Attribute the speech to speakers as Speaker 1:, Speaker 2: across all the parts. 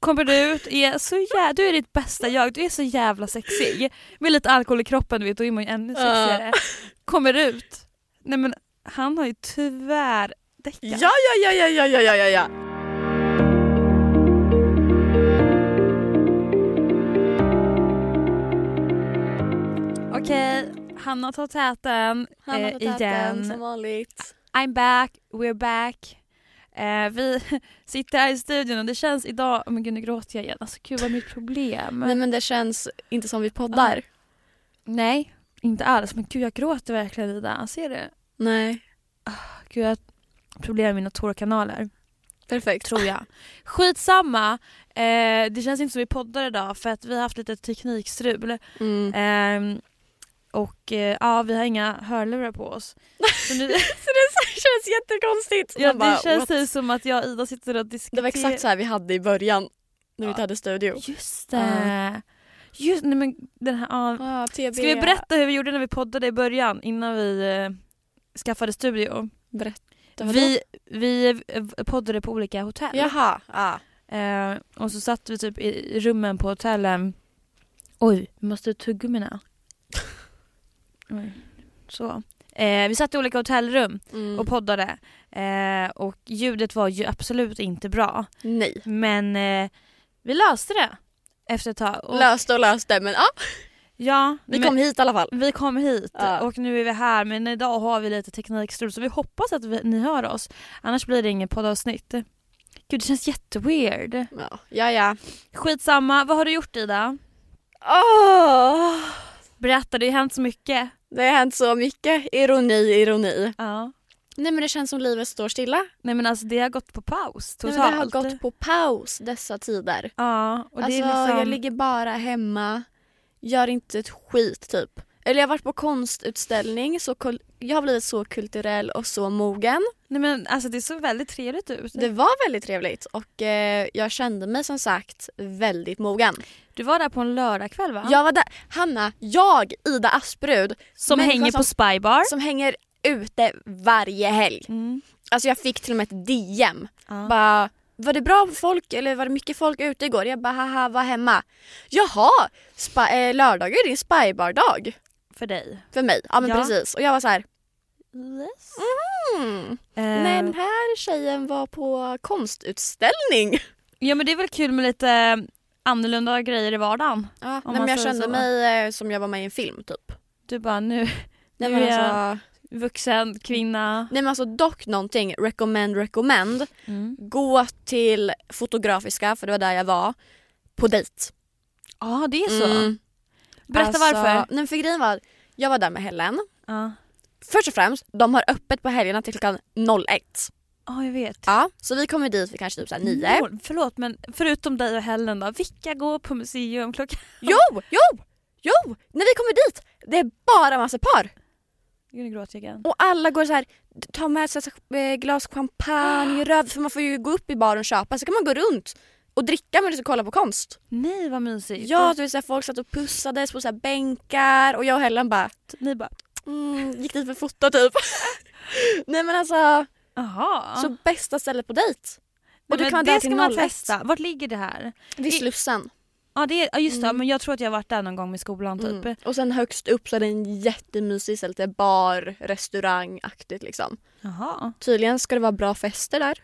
Speaker 1: kommer du ut, är så jä- du är ditt bästa jag, du är så jävla sexig. Med lite alkohol i kroppen du vet, då är man ju ännu sexigare. Kommer ut, nej men han har ju tyvärr däckat.
Speaker 2: Ja, ja, ja, ja, ja, ja, ja, ja, ja.
Speaker 1: Okej, Hanna tar täten
Speaker 2: Han har
Speaker 1: eh,
Speaker 2: fått äta den
Speaker 1: igen.
Speaker 2: som vanligt.
Speaker 1: I'm back, we're back. Eh, vi sitter här i studion och det känns idag, oh, men gud nu gråter jag igen. Alltså gud vad är mitt problem?
Speaker 2: Nej men det känns inte som vi poddar.
Speaker 1: Nej, inte alls. Men gud jag gråter verkligen Ida, ser du?
Speaker 2: Nej,
Speaker 1: Gud jag har problem med mina tårkanaler,
Speaker 2: perfekt.
Speaker 1: tror jag. Skitsamma, eh, det känns inte som vi poddar idag för att vi har haft lite teknikstrul.
Speaker 2: Mm.
Speaker 1: Ehm, och eh, ja, vi har inga hörlurar på oss. Så nu,
Speaker 2: Så det så- känns jättekonstigt.
Speaker 1: ja,
Speaker 2: Man bara,
Speaker 1: det känns
Speaker 2: what?
Speaker 1: typ som att jag och Ida sitter och diskuterar.
Speaker 2: det var exakt så här vi hade i början när vi
Speaker 1: Ja.
Speaker 2: inte hade studio.
Speaker 1: Just det. Just, nej, men den här, ja.
Speaker 2: Ah, TB.
Speaker 1: Ska vi berätta hur vi gjorde när vi poddade i början innan vi eh, skaffade studio?
Speaker 2: Berätta vadå?
Speaker 1: Vi, vi eh, poddade på olika hotell.
Speaker 2: Jaha. Ah.
Speaker 1: Eh, och så satt vi typ i, i rummen på hotellen. Oj, vi måste tugga mina. Oj. Så. Eh, vi satt i olika hotellrum
Speaker 2: Mm.
Speaker 1: och poddade. Eh, och ljudet var ju absolut inte bra.
Speaker 2: Nej.
Speaker 1: Men eh, vi löste det efter ett tag. Och,
Speaker 2: Löste och löste men ah,
Speaker 1: ja,
Speaker 2: vi
Speaker 1: men-
Speaker 2: kom hit i alla fall.
Speaker 1: vi kom hit
Speaker 2: Ja.
Speaker 1: och nu är vi här men idag har vi lite teknikstrul så vi hoppas att vi, ni hör oss. Annars blir det ingen poddavsnitt. Gud det känns jätteweird.
Speaker 2: Ja, ja. ja.
Speaker 1: Skitsamma, vad har du gjort Ida?
Speaker 2: Åh,
Speaker 1: Berätta, det har ju hänt så mycket.
Speaker 2: Det har hänt så mycket. Ironi, ironi.
Speaker 1: Ja.
Speaker 2: Nej men det känns som livet står stilla.
Speaker 1: Nej men alltså det har gått på paus
Speaker 2: Nej,
Speaker 1: totalt.
Speaker 2: men det har gått på paus dessa tider.
Speaker 1: Ja, och det
Speaker 2: alltså
Speaker 1: är liksom...
Speaker 2: jag ligger bara hemma, gör inte ett skit typ. Eller jag har varit på konstutställning, så kul- jag har blivit så kulturell och så mogen.
Speaker 1: Nej men alltså det såg väldigt trevligt ut.
Speaker 2: Det var väldigt trevligt och eh, jag kände mig som sagt väldigt mogen.
Speaker 1: Du var där på en lördagkväll va?
Speaker 2: Jag var där, Hanna, jag, Ida Asprud,
Speaker 1: som
Speaker 2: människa
Speaker 1: hänger
Speaker 2: som-
Speaker 1: på Spybar.
Speaker 2: som hänger ute varje helg.
Speaker 1: Mm.
Speaker 2: Alltså jag fick till och med ett DM
Speaker 1: Ja.
Speaker 2: bara, var det bra folk eller var det mycket folk ute igår? Jag bara haha var hemma. Jaha, spa, eh, lördagar är din spybardag
Speaker 1: För dig.
Speaker 2: för mig. Ja men
Speaker 1: Ja.
Speaker 2: precis. Och jag var så här,
Speaker 1: Yes.
Speaker 2: hmm,
Speaker 1: Eh,
Speaker 2: nej den här tjejen var på konstutställning.
Speaker 1: Ja men det är väl kul med lite eh, annorlunda grejer i vardagen.
Speaker 2: Ja,
Speaker 1: man
Speaker 2: nej, men jag
Speaker 1: säger
Speaker 2: kände
Speaker 1: så.
Speaker 2: mig eh, som jag var med i en film typ.
Speaker 1: Du bara nu, nu
Speaker 2: Nej men,
Speaker 1: är jag
Speaker 2: alltså,
Speaker 1: vuxen kvinna.
Speaker 2: nej men alltså dock någonting, recommend, recommend.
Speaker 1: Mm.
Speaker 2: Gå till Fotografiska för det var där jag var. På dejt.
Speaker 1: Ja det är så.
Speaker 2: Mm.
Speaker 1: Berätta
Speaker 2: Alltså,
Speaker 1: varför.
Speaker 2: Nej, men för grejen var, jag var där med Helen
Speaker 1: Ja.
Speaker 2: Först och främst, de har öppet på helgerna till klockan 01.
Speaker 1: Ja jag vet.
Speaker 2: Ja, så vi kommer dit vid kanske typ såhär 9.
Speaker 1: Noll- Förlåt men förutom dig och Helen då, vilka går på museum klockan?
Speaker 2: Jo, jo, jo! När vi kommer dit, det är bara massa par.
Speaker 1: Gud, Nu gråter jag igen.
Speaker 2: Och alla går så här, tar med sig så här, eh, glas
Speaker 1: Ah.
Speaker 2: champagne, röd, för man får ju gå upp i baren och köpa, så kan man gå runt och dricka medan du kolla på konst.
Speaker 1: Nej vad mysigt.
Speaker 2: Ja, du vet, så här, folk satt och pussades på så här, bänkar och jag och Helen bara
Speaker 1: Ni bara,
Speaker 2: mm, gick dit för foto typ. Nej men alltså,
Speaker 1: jaha.
Speaker 2: så bästa stället på dejt.
Speaker 1: Ah. Nej,
Speaker 2: och du
Speaker 1: men
Speaker 2: kan vara där
Speaker 1: det
Speaker 2: till
Speaker 1: ska man
Speaker 2: 01.
Speaker 1: testa. Vart ligger det här?
Speaker 2: Vid Slussen.
Speaker 1: Ja det är, ja, just det,
Speaker 2: Mm.
Speaker 1: men jag tror att jag varit där någon gång med skolan typ.
Speaker 2: Mm. Och sen högst upp så är det en jättemysig så här lite bar, restaurangaktigt liksom.
Speaker 1: Jaha.
Speaker 2: Tydligen ska det vara bra fester där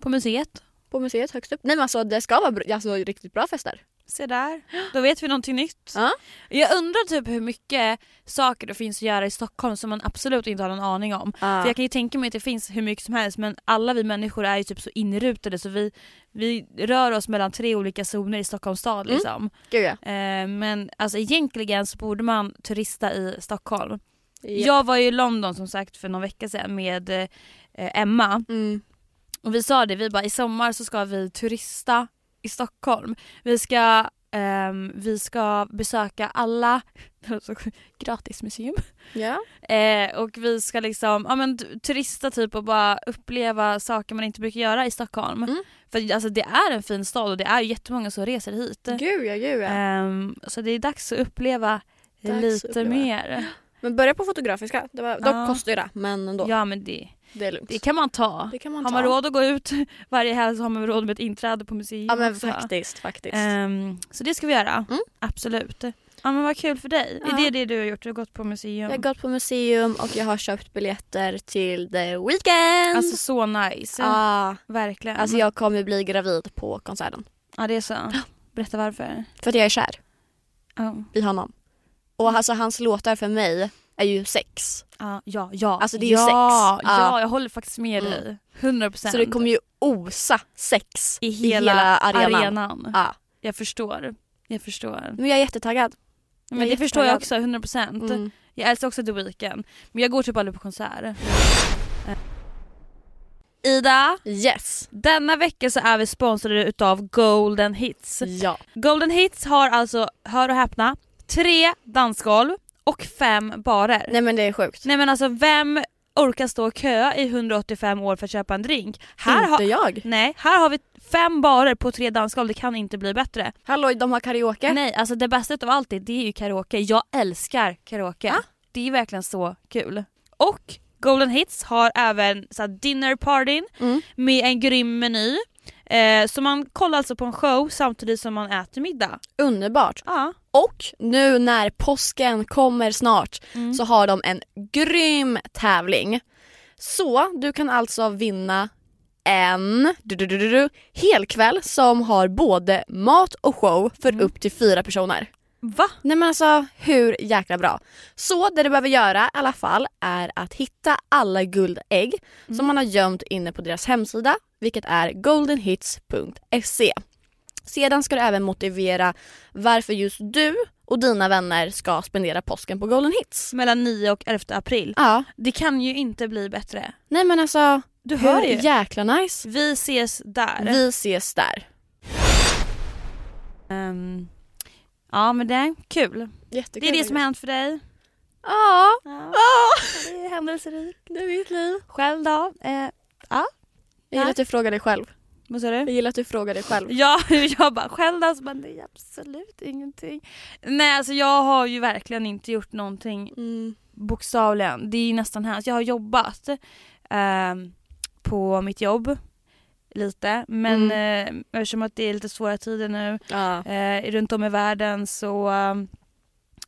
Speaker 1: På museet.
Speaker 2: på museet högst upp. Nej men alltså det ska vara br- alltså, riktigt bra fester.
Speaker 1: Se där, då vet vi någonting nytt.
Speaker 2: Ja.
Speaker 1: Jag undrar typ hur mycket saker det finns att göra i Stockholm som man absolut inte har någon aning om. För jag kan ju tänka mig att det finns hur mycket som helst men alla vi människor är ju typ så inrutade så vi, vi rör oss mellan tre olika zoner i Stockholms stad
Speaker 2: Mm.
Speaker 1: liksom.
Speaker 2: Gud ja.
Speaker 1: Eh, men alltså egentligen så borde man turista i Stockholm.
Speaker 2: Ja.
Speaker 1: Jag var ju i London som sagt för någon vecka sedan med eh, Emma
Speaker 2: Mm.
Speaker 1: och vi sa det, vi bara i sommar så ska vi turista i Stockholm. Vi ska, ehm, vi ska besöka alla gratismuseum.
Speaker 2: ja.
Speaker 1: Eh, och vi ska liksom, ja men t- turista typ och bara uppleva saker man inte brukar göra i Stockholm.
Speaker 2: Mm.
Speaker 1: För alltså det är en fin stad och det är ju jättemånga som reser hit.
Speaker 2: Gud ja, gud ja.
Speaker 1: Ehm, så det är dags att uppleva
Speaker 2: Dags att
Speaker 1: lite
Speaker 2: uppleva.
Speaker 1: mer.
Speaker 2: Men börja på Fotografiska. Det var,
Speaker 1: Ja.
Speaker 2: Dock kostar ju det men ändå.
Speaker 1: Ja men det,
Speaker 2: det är lugnt.
Speaker 1: Det kan man ta.
Speaker 2: Det kan man
Speaker 1: har man råd att gå ut varje helg så har man råd med ett inträde på museum.
Speaker 2: Ja men
Speaker 1: också.
Speaker 2: faktiskt, faktiskt.
Speaker 1: Ehm, så det ska vi göra.
Speaker 2: Mm.
Speaker 1: Absolut. Ja men vad kul för dig.
Speaker 2: Ja.
Speaker 1: Är det det du har gjort? Du har gått på museum?
Speaker 2: Jag har gått på museum och jag har köpt biljetter till The Weeknd.
Speaker 1: Alltså så nice.
Speaker 2: ah,
Speaker 1: Verkligen.
Speaker 2: alltså jag kommer bli gravid på konserten.
Speaker 1: Ja det är så. Berätta varför.
Speaker 2: För att jag är kär
Speaker 1: Ja,
Speaker 2: i honom. Och
Speaker 1: Mm.
Speaker 2: alltså hans låtar för mig är ju sex.
Speaker 1: ja, ja, ja.
Speaker 2: Alltså, det är ju sex.
Speaker 1: Ja,
Speaker 2: Ja.
Speaker 1: ja jag håller faktiskt med
Speaker 2: Mm.
Speaker 1: dig. 100 procent.
Speaker 2: Så det kommer ju osa sex
Speaker 1: i hela,
Speaker 2: hela arenan.
Speaker 1: arenan.
Speaker 2: Ja.
Speaker 1: Jag förstår. Jag förstår.
Speaker 2: Men jag är jättetaggad.
Speaker 1: Men
Speaker 2: Jag är
Speaker 1: det förstår jag
Speaker 2: jätteglad.
Speaker 1: också, 100%. procent.
Speaker 2: Mm.
Speaker 1: Jag älskar också The Weeknd. Men jag går typ aldrig på konsert. Ida,
Speaker 2: Yes.
Speaker 1: denna vecka så är vi sponsrade utav Golden Hits.
Speaker 2: Ja.
Speaker 1: Golden Hits har alltså, hör och häpna, tre dansgolv och fem barer.
Speaker 2: Nej men det är sjukt.
Speaker 1: Nej men alltså vem orkar stå och köa i 185 år för att köpa en drink? Här har,
Speaker 2: Inte jag.
Speaker 1: nej, här har vi fem barer på tre dansgolv, det kan inte bli bättre.
Speaker 2: Hallå, de har karaoke.
Speaker 1: Nej, alltså det bästa av allt är, det är ju karaoke. Jag älskar karaoke.
Speaker 2: Ja.
Speaker 1: Det är verkligen så kul. Och Golden Hits har även så här, dinner partyn
Speaker 2: Mm.
Speaker 1: med en grym meny. Eh, så man kollar alltså på en show samtidigt som man äter middag.
Speaker 2: Underbart.
Speaker 1: Ja.
Speaker 2: Och nu när påsken kommer snart
Speaker 1: Mm.
Speaker 2: så har de en grym tävling. Så du kan alltså vinna en du, du, du, du, du, helkväll som har både mat och show för
Speaker 1: Mm.
Speaker 2: upp till fyra personer.
Speaker 1: Va?
Speaker 2: Nej men alltså hur jäkla bra. Så det du behöver göra i alla fall är att hitta alla guldägg som man har gömt inne på deras hemsida vilket är goldenhits.se. Sedan ska du även motivera varför just du och dina vänner ska spendera påsken på Golden Hits.
Speaker 1: Mellan 9 och 11 april.
Speaker 2: Ja,
Speaker 1: Det kan ju inte bli bättre.
Speaker 2: nej men alltså
Speaker 1: Du hör
Speaker 2: hur
Speaker 1: ju.
Speaker 2: jäkla nice.
Speaker 1: Vi ses där.
Speaker 2: Vi ses där.
Speaker 1: Ehm, ja men det är kul.
Speaker 2: Jättekul.
Speaker 1: Det är det som har hänt för dig.
Speaker 2: Ja,
Speaker 1: Ja. Det är händelserikt.
Speaker 2: det är mitt liv.
Speaker 1: Själv då? Eh,
Speaker 2: Jag gillar att du frågar dig själv.
Speaker 1: vad sa du?
Speaker 2: Jag gillar att du frågar dig själv.
Speaker 1: Ja, jag bara själv alltså, men det är absolut ingenting. Nej alltså jag har ju verkligen inte gjort någonting
Speaker 2: Mm.
Speaker 1: bokstavligen. Det är ju nästan hemskt. Jag har jobbat ehm, på mitt jobb lite men eh, eftersom att det är lite svåra tider nu
Speaker 2: Ja.
Speaker 1: eh, runt om i världen så eh,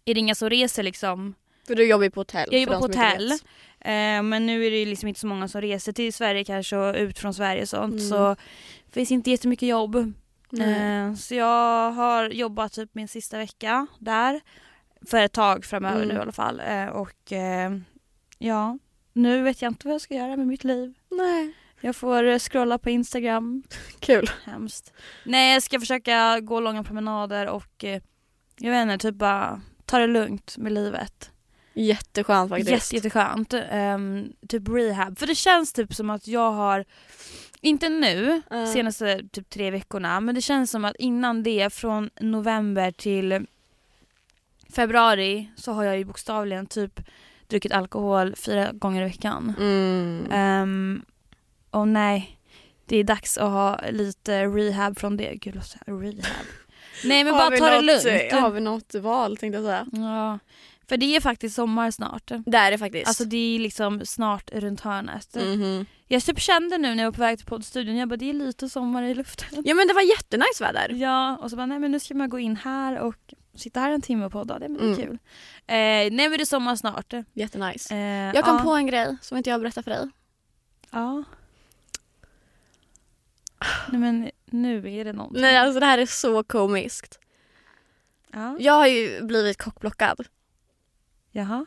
Speaker 1: är det inga som reser liksom.
Speaker 2: För du jobbar ju på hotell.
Speaker 1: Jag
Speaker 2: för
Speaker 1: jobbar på
Speaker 2: de som inte
Speaker 1: hotell
Speaker 2: vet.
Speaker 1: eh, men nu är det ju liksom inte så många som reser till Sverige kanske och ut från Sverige och sånt
Speaker 2: Mm.
Speaker 1: så finns inte jättemycket jobb.
Speaker 2: Nej.
Speaker 1: Eh, Så jag har jobbat typ min sista vecka där. För ett tag framöver
Speaker 2: Mm.
Speaker 1: nu i alla fall. Eh, Och eh, ja, nu vet jag inte vad jag ska göra med mitt liv.
Speaker 2: Nej.
Speaker 1: Jag får eh, scrolla på Instagram.
Speaker 2: Kul.
Speaker 1: Hemskt. Nej, jag ska försöka gå långa promenader och eh, jag vet inte, typ bara ta det lugnt med livet.
Speaker 2: Jätteskönt faktiskt.
Speaker 1: Jätte, jätteskönt. Ehm, typ rehab. För det känns typ som att jag har, inte nu,
Speaker 2: Ja.
Speaker 1: senaste typ tre veckorna. Men det känns som att innan det, från november till februari så har jag ju bokstavligen typ druckit alkohol fyra gånger i veckan.
Speaker 2: Mm.
Speaker 1: Ehm, och nej, det är dags att ha lite rehab från det. Gud, vad säger jag? rehab. nej men bara
Speaker 2: Har vi
Speaker 1: ta det
Speaker 2: något-
Speaker 1: lugnt.
Speaker 2: Har vi något val tänkte jag säga.
Speaker 1: Ja. För det är faktiskt sommar snart.
Speaker 2: Det är det faktiskt.
Speaker 1: Alltså det är liksom snart runt hörnet.
Speaker 2: Mhm.
Speaker 1: Jag typ kände nu när jag var på väg till poddstudion, jag bara det är lite sommar i luften.
Speaker 2: Ja men det var jättenice väder.
Speaker 1: Ja, och så bara nej men nu ska man gå in här och sitta här en timme och podda, det är
Speaker 2: Mm.
Speaker 1: mm. kul. Eh, nej men det är sommar snart. Eh,
Speaker 2: Jättenice. Jag kom på en grej som inte jag berättade för dig.
Speaker 1: Mm. Ja. Nej men nu är det någonting.
Speaker 2: Nej alltså det här är så komiskt.
Speaker 1: ja.
Speaker 2: Jag har ju blivit kockblockad
Speaker 1: Jaha.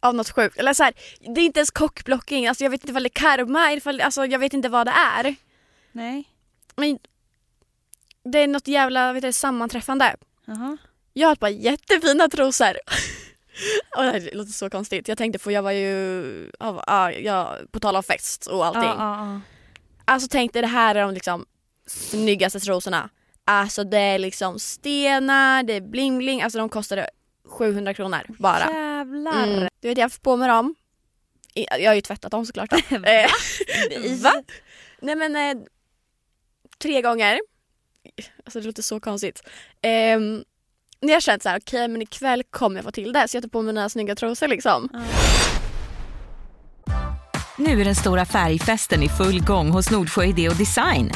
Speaker 2: av något sjukt. Eller så här, det är inte ens kockblocking. Alltså jag vet inte ifall det är karma, ifall, alltså jag vet inte vad det är.
Speaker 1: Nej.
Speaker 2: Men det är något jävla vet du, sammanträffande.
Speaker 1: Jaha.
Speaker 2: Jag har ett par jättefina trosor. Och det här låter så konstigt. Jag tänkte för jag var ju, ja, ja, jag, på tal om fest och allting.
Speaker 1: Ja, ja, ja.
Speaker 2: Alltså tänk dig det här är de liksom snyggaste trosorna. Alltså det är liksom stenar, det är bling bling, alltså de kostade 700 kronor bara.
Speaker 1: Jävlar.
Speaker 2: Mm. Du vet jag har haft på mig dem. I- Jag har ju tvättat dem såklart. Då. Eh, Va? Nej men eh, tre gånger. Alltså det låter så konstigt. Ehm, när jag känt så här, okej men ikväll kommer jag få till det. Så jag tar på mig mina snygga trosor liksom.
Speaker 1: Ja.
Speaker 3: Nu är den stora färgfesten i full gång hos Nordsjö Idé och Design.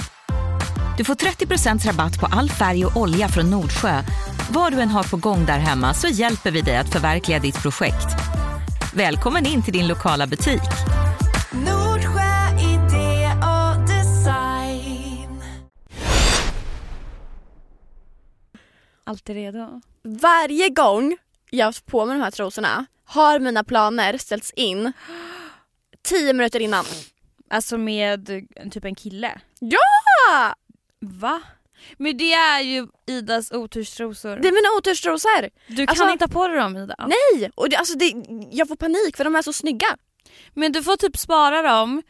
Speaker 3: Du får 30 rabatt på all färg och olja från Nordsjö. Vad du än har på gång där hemma så hjälper vi dig att förverkliga ditt projekt. Välkommen in till din lokala butik.
Speaker 4: Nordsjö idé och design.
Speaker 1: Alltid redo.
Speaker 2: Varje gång jag har haft på mig de här trosorna har mina planer ställts in tio minuter innan.
Speaker 1: Alltså med eh, typ en kille.
Speaker 2: Ja!
Speaker 1: Va? Men det är ju Idas oturstrosor.
Speaker 2: Det är mina oturstrosor!
Speaker 1: du kan
Speaker 2: alltså-
Speaker 1: inte ha på dig dem Ida.
Speaker 2: Nej! Och det, alltså det, jag får panik för de är så snygga.
Speaker 1: Men du får typ spara dem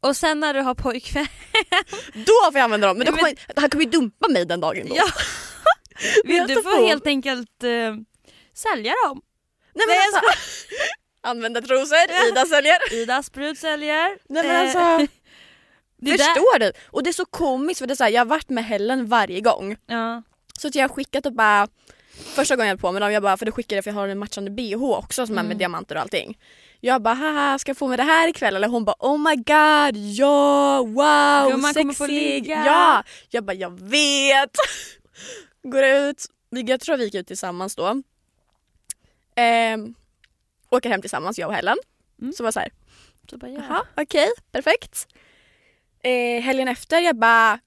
Speaker 1: och sen när du har pojkvän.
Speaker 2: Då får jag använda dem. Men, då
Speaker 1: Men-
Speaker 2: kommer, han kommer ju dumpa mig den dagen då.
Speaker 1: Ja.
Speaker 2: Jag
Speaker 1: du
Speaker 2: tar på
Speaker 1: får
Speaker 2: dem.
Speaker 1: helt enkelt eh, sälja dem.
Speaker 2: Nej, men
Speaker 1: Nej,
Speaker 2: alltså, använda trosor, Ida säljer.
Speaker 1: Ida Sprut säljer.
Speaker 2: Nej, men
Speaker 1: Eh,
Speaker 2: alltså,
Speaker 1: det där,
Speaker 2: förstår du? Och det är så komiskt för det är så här, jag har varit med Helen varje gång.
Speaker 1: ja.
Speaker 2: Så att jag har skickat och bara, första gången jag hade på mig dem, jag bara för du skickade jag för jag har en matchande bh också som är
Speaker 1: Mm.
Speaker 2: med diamanter och allting. Jag bara haha ska jag få med det här ikväll eller hon bara oh my god ja wow
Speaker 1: Gumman kommer
Speaker 2: sexig.
Speaker 1: få ligga.
Speaker 2: Ja. Jag bara jag vet. Går ut, Vi- jag tror vi gick ut tillsammans då. Ehm, åker hem tillsammans jag och Helen.
Speaker 1: Mm.
Speaker 2: Så var så här,
Speaker 1: Så bara,
Speaker 2: Jaha,
Speaker 1: ja.
Speaker 2: okej, perfekt. Eh, helgen efter, jag bara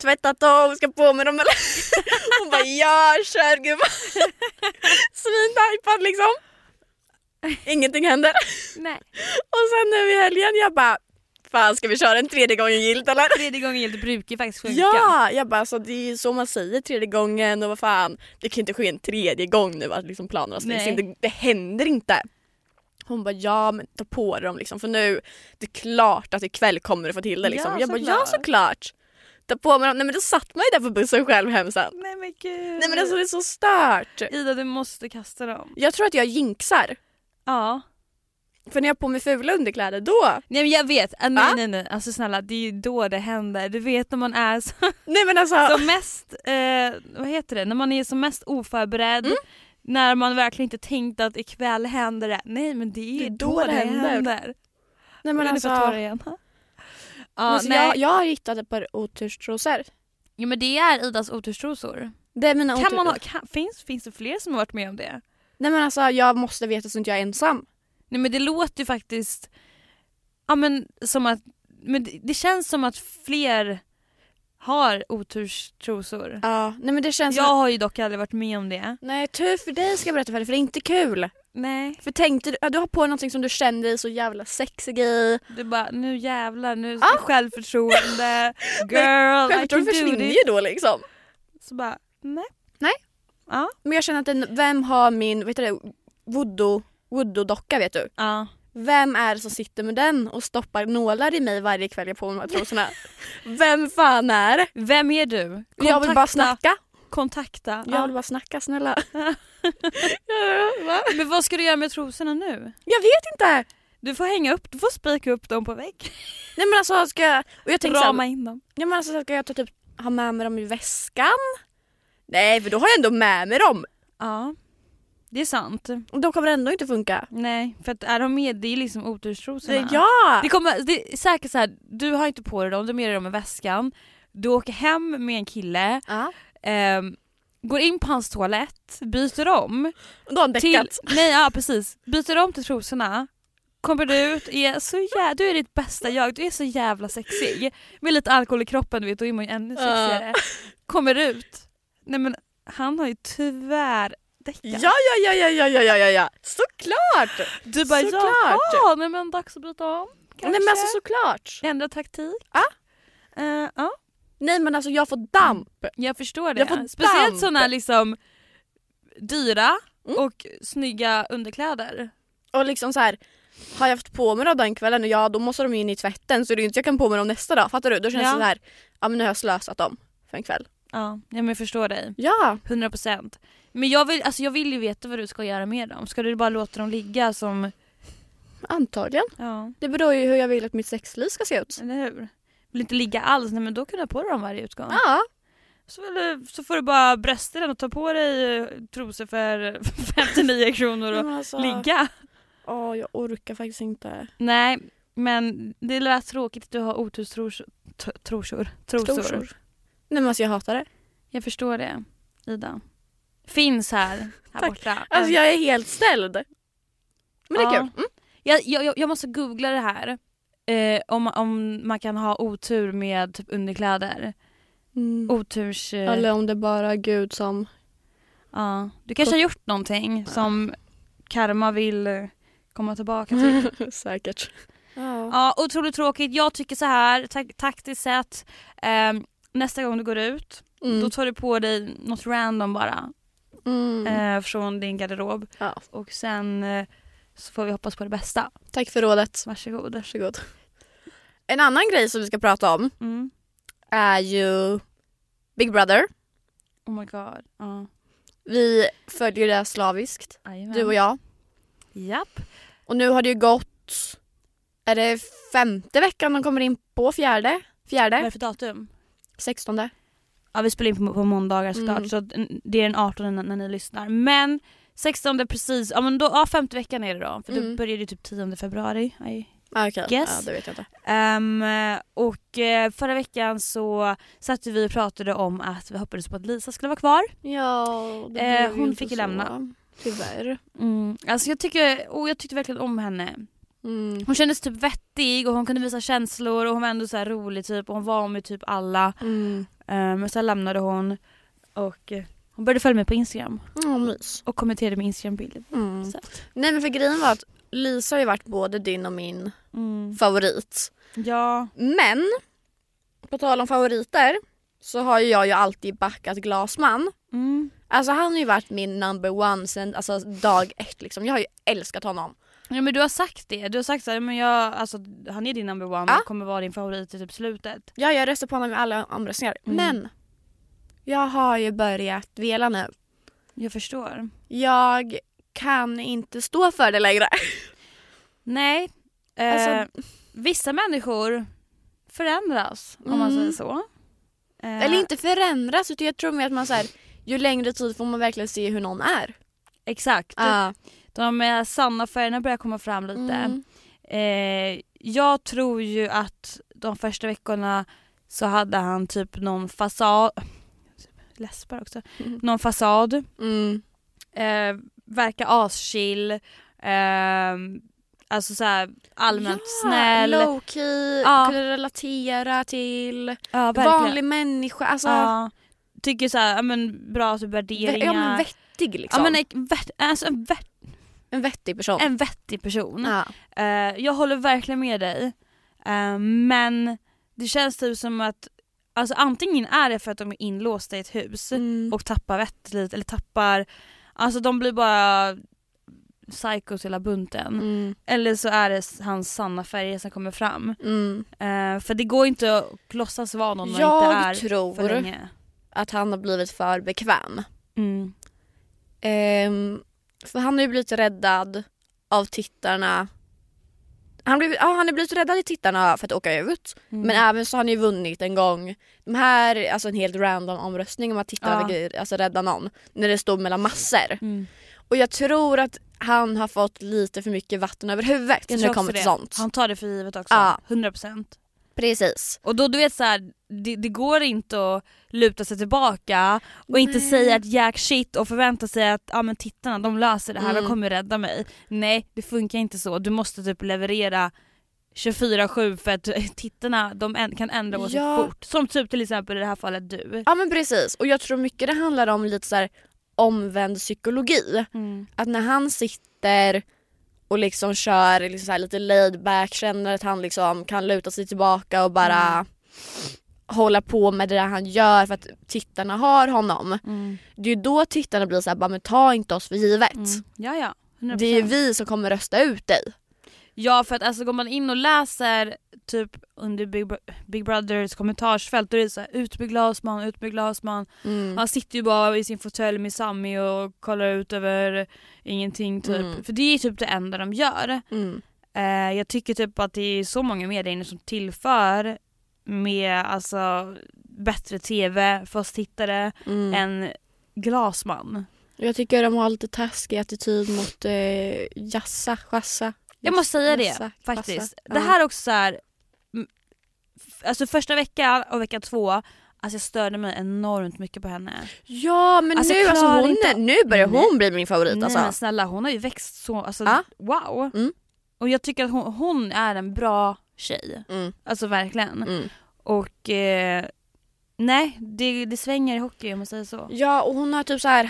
Speaker 2: tvättat dem, ska på med dem eller? Hon bara ja, kör gumman. Svintajpad liksom. Ingenting händer.
Speaker 1: Nej.
Speaker 2: Och sen nu i helgen, jag bara fan ska vi köra en tredje gången gillt eller?
Speaker 1: Tredje gången gillt brukar faktiskt funka.
Speaker 2: Ja, jag bara alltså, det är ju så man säger tredje gången och vad fan. Det kan ju inte ske en tredje gång nu att liksom planerna stängs
Speaker 1: Nej.
Speaker 2: in. Det, det händer inte. Hon bara ja men ta på dig dem liksom för nu det är klart att ikväll kommer du få till det liksom.
Speaker 1: Ja,
Speaker 2: jag bara ja
Speaker 1: såklart.
Speaker 2: såklart. Ta på mig dem. Nej men då satt man ju där på bussen själv hem sen.
Speaker 1: Nej men gud.
Speaker 2: Nej men alltså det är så stört.
Speaker 1: Ida du måste kasta dem.
Speaker 2: Jag tror att jag jinxar.
Speaker 1: Ja.
Speaker 2: För när jag har på mig fula underkläder då.
Speaker 1: Nej men jag vet, Ah, nej
Speaker 2: Va?
Speaker 1: nej nej alltså snälla det är ju då det händer. Du vet när man är så,
Speaker 2: Nej men alltså.
Speaker 1: som mest, eh, vad heter det, när man är som mest oförberedd.
Speaker 2: Mm.
Speaker 1: När man verkligen inte tänkt att ikväll händer det. Nej men det är,
Speaker 2: Det är
Speaker 1: då, det händer. händer.
Speaker 2: Nej men
Speaker 1: Men
Speaker 2: alltså.
Speaker 1: alltså, igen. Ja,
Speaker 2: alltså
Speaker 1: nej.
Speaker 2: jag, jag har hittat ett par oturstrosor.
Speaker 1: ja men det är Idas oturstrosor.
Speaker 2: Det är mina
Speaker 1: Kan
Speaker 2: otur-
Speaker 1: man ha, kan, finns, finns det fler som har varit med om det?
Speaker 2: Nej men alltså jag måste veta så inte jag är ensam.
Speaker 1: Nej men det låter ju faktiskt, ja men som att, men det, det känns som att fler har oturstrosor.
Speaker 2: Ja, nej men det känns
Speaker 1: Jag
Speaker 2: som...
Speaker 1: har ju dock aldrig varit med om det.
Speaker 2: Nej tur för dig ska jag berätta för dig för det är inte kul.
Speaker 1: Nej.
Speaker 2: För tänkte du, ja, du har på dig någonting som du känner dig så jävla sexig i.
Speaker 1: Du bara nu jävlar, nu
Speaker 2: Ah!
Speaker 1: självförtroende, girl I can
Speaker 2: Självförtroendet
Speaker 1: do
Speaker 2: försvinner
Speaker 1: this.
Speaker 2: ju då liksom.
Speaker 1: Så bara nej.
Speaker 2: Men jag känner att den, vem har min, vad heter det, voodoo, voodoo-docka vet du?
Speaker 1: Ja.
Speaker 2: Vem är det som sitter med den och stoppar nålar i mig varje kväll jag på mig de här trosorna? vem fan är det?
Speaker 1: Vem är du? Kontakta,
Speaker 2: Jag vill bara snacka.
Speaker 1: Kontakta.
Speaker 2: Jag vill
Speaker 1: Ja.
Speaker 2: bara snacka snälla.
Speaker 1: Men vad ska du göra med trosorna nu?
Speaker 2: jag vet inte.
Speaker 1: Du får hänga upp, du får spika upp dem på väggen.
Speaker 2: Nej men alltså ska jag, och jag tänker så här-
Speaker 1: Rama in dem.
Speaker 2: Ja men alltså ska jag ta typ ha med mig dem i väskan? Nej för då har jag ändå med mig dem.
Speaker 1: Ja. Det är sant.
Speaker 2: Och då kommer det ändå inte funka.
Speaker 1: Nej, för att är de med, det är liksom oturstrosorna.
Speaker 2: Det, ja!
Speaker 1: Det kommer, det är säkert såhär, du har inte på dig dem, du har med dig dem i väskan. Du åker hem med en kille,
Speaker 2: ja.
Speaker 1: ehm, går in på hans toalett, byter om.
Speaker 2: Och då har han
Speaker 1: Till,
Speaker 2: däckat.
Speaker 1: nej, ja precis. Byter om till trosorna. Kommer du ut, är så jä- du är ditt bästa jag, du är så jävla sexig. Med lite alkohol i kroppen du vet, då är man ju ännu sexigare. Kommer ut, nej men han har ju tyvärr däckat.
Speaker 2: Ja ja ja ja ja ja ja ja ja. Såklart!
Speaker 1: du bara
Speaker 2: såklart.
Speaker 1: jaha, nej men dags att byta om. Kanske.
Speaker 2: Nej men alltså såklart.
Speaker 1: Ändra taktik.
Speaker 2: Ja.
Speaker 1: Eh, ja,
Speaker 2: Nej men alltså jag får damp.
Speaker 1: jag förstår det.
Speaker 2: Jag får damp.
Speaker 1: Speciellt sådana liksom dyra och snygga underkläder.
Speaker 2: Och liksom så här. Har jag haft på mig dem den kvällen och ja då måste de in i tvätten så det är ju inte jag kan på mig dem nästa dag. Fattar du? Då känns
Speaker 1: Ja.
Speaker 2: det så här. Ja men nu har jag slösat dem för en kväll.
Speaker 1: Ja, ja men jag förstår dig.
Speaker 2: Ja.
Speaker 1: 100%. Men jag vill, alltså jag vill ju veta vad du ska göra med dem. Ska du bara låta dem ligga som...
Speaker 2: Antagligen.
Speaker 1: Ja,
Speaker 2: Det beror ju hur jag vill att mitt sexliv ska se ut.
Speaker 1: eller hur? Vill inte ligga alls, nej men då kan du ha på dig dem varje utgång.
Speaker 2: Ja.
Speaker 1: Så, vill du, så får du bara brösta den och ta på dig eh, trosor för 59 kronor
Speaker 2: Nej,
Speaker 1: och
Speaker 2: men alltså-
Speaker 1: ligga.
Speaker 2: Ja, jag orkar faktiskt inte.
Speaker 1: Nej, Men det lät tråkigt att du har oturstrosor. t- Trosor. Trosor.
Speaker 2: Trosor. Nej men alltså jag hatar det.
Speaker 1: Jag förstår det, Ida. Finns här, här
Speaker 2: Tack.
Speaker 1: borta.
Speaker 2: Alltså jag är helt ställd. Men det är
Speaker 1: Ja.
Speaker 2: kul. Mm.
Speaker 1: Jag, jag, jag- jag måste googla det här. Eh, om, om man kan ha otur med typ underkläder.
Speaker 2: Oh,
Speaker 1: Oturs... Eh,
Speaker 2: Mm. Eller om det bara är Gud som...
Speaker 1: ja. Du kanske har gjort någonting som karma vill eh, komma tillbaka
Speaker 2: Mm.
Speaker 1: till.
Speaker 2: Säkert.
Speaker 1: Ja, otroligt tråkigt. Jag tycker så här, tak- taktiskt sett. ehm, nästa gång du går ut,
Speaker 2: Mm.
Speaker 1: då tar du på dig något random bara.
Speaker 2: Mm.
Speaker 1: Eh, från din garderob.
Speaker 2: Ja.
Speaker 1: Och sen eh, så får vi hoppas på det bästa.
Speaker 2: Tack för rådet.
Speaker 1: Varsågod.
Speaker 2: Varsågod. En annan grej som vi ska prata om
Speaker 1: Mm.
Speaker 2: är ju Big Brother.
Speaker 1: Oh my god. Ja.
Speaker 2: Vi följer det slaviskt, du och jag.
Speaker 1: Japp.
Speaker 2: Och nu har det ju gått... Är det femte veckan de kommer in på? Fjärde?
Speaker 1: Vad är det
Speaker 2: Fjärde?
Speaker 1: för datum?
Speaker 2: Sextonde?
Speaker 1: Ja vi spelar in på, på måndagar såklart
Speaker 2: Mm.
Speaker 1: så att, mm, det är den 18 när, när ni lyssnar. Men 16 precis, ja men då, ja femte veckan är det då. För
Speaker 2: Mm.
Speaker 1: då börjar det typ 10 februari. I,
Speaker 2: Ah, Okej,
Speaker 1: Yes.
Speaker 2: ja, det vet jag inte.
Speaker 1: Ehm, och eh, förra veckan så satt vi och pratade om att vi hoppades på att Lisa skulle vara kvar.
Speaker 2: Ja,
Speaker 1: blev Eh, ju hon inte fick ju så. lämna.
Speaker 2: Tyvärr.
Speaker 1: Alltså jag, tycker, och jag tyckte verkligen om henne.
Speaker 2: Mm.
Speaker 1: Hon kändes typ vettig och hon kunde visa känslor och hon var ändå så här rolig typ och hon var med typ alla.
Speaker 2: Mm.
Speaker 1: Ehm, Men sen lämnade hon och eh, hon började följa mig på Instagram
Speaker 2: Oh, mys.
Speaker 1: och kommenterade min Instagram-bild.
Speaker 2: Mm.
Speaker 1: Söt.
Speaker 2: Nej men för grejen var att Lisa har ju varit både din och min
Speaker 1: Mm.
Speaker 2: favorit.
Speaker 1: Ja.
Speaker 2: Men på tal om favoriter så har ju jag ju alltid backat Glasman.
Speaker 1: Mm.
Speaker 2: Alltså han har ju varit min number one sen alltså, dag ett liksom. Jag har ju älskat honom.
Speaker 1: Ja men du har sagt det. Du har sagt så här, men jag, alltså, han är din number one
Speaker 2: Ja.
Speaker 1: och kommer vara din favorit i typ slutet.
Speaker 2: Ja, jag röstar på honom i alla omröstningar.
Speaker 1: Mm.
Speaker 2: Men jag har ju börjat vela nu.
Speaker 1: Jag förstår.
Speaker 2: Jag kan inte stå för det längre.
Speaker 1: Nej. Eh,
Speaker 2: Alltså-
Speaker 1: vissa människor förändras om man
Speaker 2: Mm.
Speaker 1: säger så. Eh,
Speaker 2: Eller inte förändras utan jag tror mer att man så här, ju längre tid får man verkligen se hur någon är. Typ.
Speaker 1: Exakt.
Speaker 2: Ja.
Speaker 1: De eh, sanna färgerna börjar komma fram lite.
Speaker 2: Mm.
Speaker 1: Eh, jag tror ju att de första veckorna så hade han typ någon fasad. Läspar också.
Speaker 2: Mm.
Speaker 1: Någon fasad.
Speaker 2: Mm.
Speaker 1: eh, verkar aschill, eh, alltså såhär allmänt snäll.
Speaker 2: Low key,
Speaker 1: Ja.
Speaker 2: kunde relatera till
Speaker 1: Ja, Ah.
Speaker 2: vanlig människa. Alltså,
Speaker 1: Ja, tycker såhär, ja, men bra typ värderingar.
Speaker 2: vä- ja, men vettig liksom.
Speaker 1: Ja, men en, vett, alltså en, vett,
Speaker 2: en vettig person.
Speaker 1: en vettig person.
Speaker 2: Ja.
Speaker 1: Eh, jag håller verkligen med dig. Eh, men det känns typ som att alltså, antingen är det för att de är inlåsta i ett hus
Speaker 2: Mm.
Speaker 1: och tappar vettet lite eller tappar, alltså de blir bara psychos hela bunten.
Speaker 2: Mm.
Speaker 1: Eller så är det hans sanna färger som kommer fram.
Speaker 2: Mm.
Speaker 1: Eh, för det går inte att låtsas vara någon man inte är
Speaker 2: Jag
Speaker 1: för
Speaker 2: tror
Speaker 1: länge.
Speaker 2: att han har blivit för bekväm.
Speaker 1: Mm.
Speaker 2: Ehm, för han har ju blivit räddad av tittarna. Han blev, ja, han har blivit räddad i tittarna för att åka ut.
Speaker 1: Mm.
Speaker 2: Men även så har han ju vunnit en gång. De här, alltså en helt random omröstning om att
Speaker 1: Ja.
Speaker 2: titta ja. alltså rädda någon. När det stod mellan massor.
Speaker 1: Mm.
Speaker 2: Och jag tror att han har fått lite för mycket vatten över huvudet
Speaker 1: Jag
Speaker 2: när
Speaker 1: tror
Speaker 2: det kommer
Speaker 1: också
Speaker 2: till
Speaker 1: det.
Speaker 2: sånt.
Speaker 1: Han tar det för givet också.
Speaker 2: Ja.
Speaker 1: 100%.
Speaker 2: Precis.
Speaker 1: Och då du vet så här, det, det går inte att luta sig tillbaka och inte säga ett jack shit och förvänta sig att ja men tittarna de löser det här, de
Speaker 2: Mm.
Speaker 1: kommer rädda mig. Nej det funkar inte så, du måste typ leverera 24-7 för att tittarna de än- kan ändra åsikt
Speaker 2: Ja. Mm,
Speaker 1: fort. Som typ till exempel i det här fallet du.
Speaker 2: Ja men precis. Och jag tror mycket det handlar om lite så här omvänd psykologi. Att när han sitter och liksom kör liksom så här lite laid back, känner att han liksom kan luta sig tillbaka och bara
Speaker 1: Mm.
Speaker 2: hålla på med det där han gör för att tittarna har honom. Det är ju då tittarna blir så här, bara men ta inte oss för givet.
Speaker 1: Mm. Ja, ja. 100%.
Speaker 2: Det är ju vi som kommer rösta ut dig.
Speaker 1: Ja, för att alltså går man in och läser typ under Big, Bro- Big Brothers kommentarsfält då är det så här ut med Glasman, ut med Glasman.
Speaker 2: Mm.
Speaker 1: Han sitter ju bara i sin fåtölj med Sammy och kollar ut över ingenting typ.
Speaker 2: Mm.
Speaker 1: För det är typ det enda de gör.
Speaker 2: Mm.
Speaker 1: Eh, jag tycker typ att det är så många medier inne som tillför med alltså bättre tv för oss tittare
Speaker 2: Mm.
Speaker 1: än Glasman.
Speaker 2: Jag tycker de har lite taskig attityd mot eh, Jassa, Jassa.
Speaker 1: Jag måste säga det
Speaker 2: Exakt,
Speaker 1: faktiskt.
Speaker 2: passa.
Speaker 1: Det
Speaker 2: Ja.
Speaker 1: här är också så här, mm, f- alltså första veckan och vecka två, alltså jag störde mig enormt mycket på henne.
Speaker 2: Ja men
Speaker 1: Alltså,
Speaker 2: nu, alltså,
Speaker 1: klarar
Speaker 2: hon
Speaker 1: inte-
Speaker 2: är, nu börjar hon bli min favorit
Speaker 1: Nej
Speaker 2: alltså.
Speaker 1: men snälla hon har ju växt så, alltså
Speaker 2: Ja.
Speaker 1: wow.
Speaker 2: Mm.
Speaker 1: Och jag tycker att hon, hon är en bra tjej.
Speaker 2: Mm.
Speaker 1: Alltså verkligen.
Speaker 2: Mm.
Speaker 1: Och eh, nej, det, det svänger i hockey om man säger så.
Speaker 2: Ja och hon har typ så här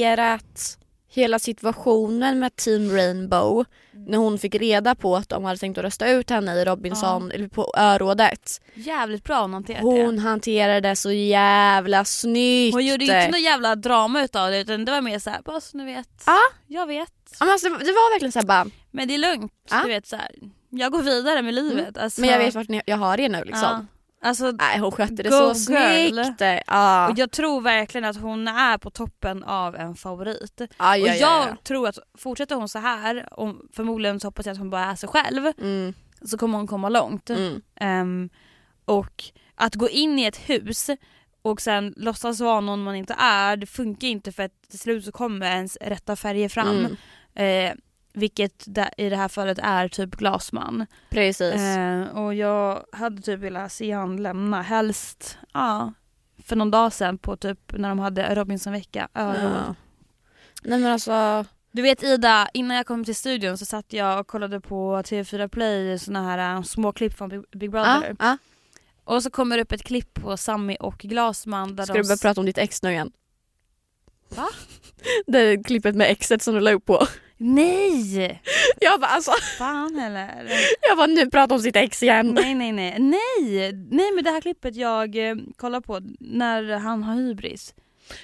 Speaker 2: hanterat hela situationen med Team Rainbow när hon fick reda på att de hade tänkt att rösta ut henne i Robinson, eller på örådet.
Speaker 1: Jävligt bra hon hanterat
Speaker 2: Hon
Speaker 1: det.
Speaker 2: hanterade det så jävla snyggt.
Speaker 1: Hon gjorde ju inte något jävla drama utav det utan det var mer såhär, bara så ni vet.
Speaker 2: Ja.
Speaker 1: Jag vet.
Speaker 2: ja, men alltså, det det var verkligen såhär bara,
Speaker 1: Men det är lugnt,
Speaker 2: Ja. Mm.
Speaker 1: du vet såhär. Jag går vidare med livet. Alltså,
Speaker 2: men jag vet vart ni, jag har er nu liksom.
Speaker 1: ja. Alltså,
Speaker 2: Nej hon skötte det
Speaker 1: Go
Speaker 2: så
Speaker 1: girl.
Speaker 2: snyggt. Ja.
Speaker 1: och jag tror verkligen att hon är på toppen av en favorit.
Speaker 2: Ja,
Speaker 1: och
Speaker 2: ja,
Speaker 1: jag
Speaker 2: ja, ja.
Speaker 1: tror att fortsätter hon så här, och förmodligen så hoppas jag att hon bara är sig själv,
Speaker 2: Mm,
Speaker 1: så kommer hon komma långt.
Speaker 2: mm.
Speaker 1: Ehm, och att gå in i ett hus och sen låtsas vara någon man inte är, det funkar inte för att till slut så kommer ens rätta färger fram.
Speaker 2: Mm.
Speaker 1: Eh, vilket det- i det här fallet är typ Glasman.
Speaker 2: Precis.
Speaker 1: Eh, och jag hade typ velat se han lämna, helst ja, för någon dag sedan på typ när de hade Robinsonvecka. Ja.
Speaker 2: Ja. Nej men alltså,
Speaker 1: Du vet Ida, innan jag kom till studion så satt jag och kollade på TV4 Play såna här eh, små klipp från Big- Big Brother.
Speaker 2: ja, ja.
Speaker 1: Och så kommer det upp ett klipp på Sammy och Glasman där
Speaker 2: ska
Speaker 1: de...
Speaker 2: du börja prata om ditt ex nu igen?
Speaker 1: Va?
Speaker 2: Det är klippet med exet som du la upp på.
Speaker 1: Nej!
Speaker 2: Jag bara alltså,
Speaker 1: Fan eller?
Speaker 2: jag bara nu pratar om sitt ex igen.
Speaker 1: nej nej nej. Nej! Nej men det här klippet jag eh, kollar på när han har hybris.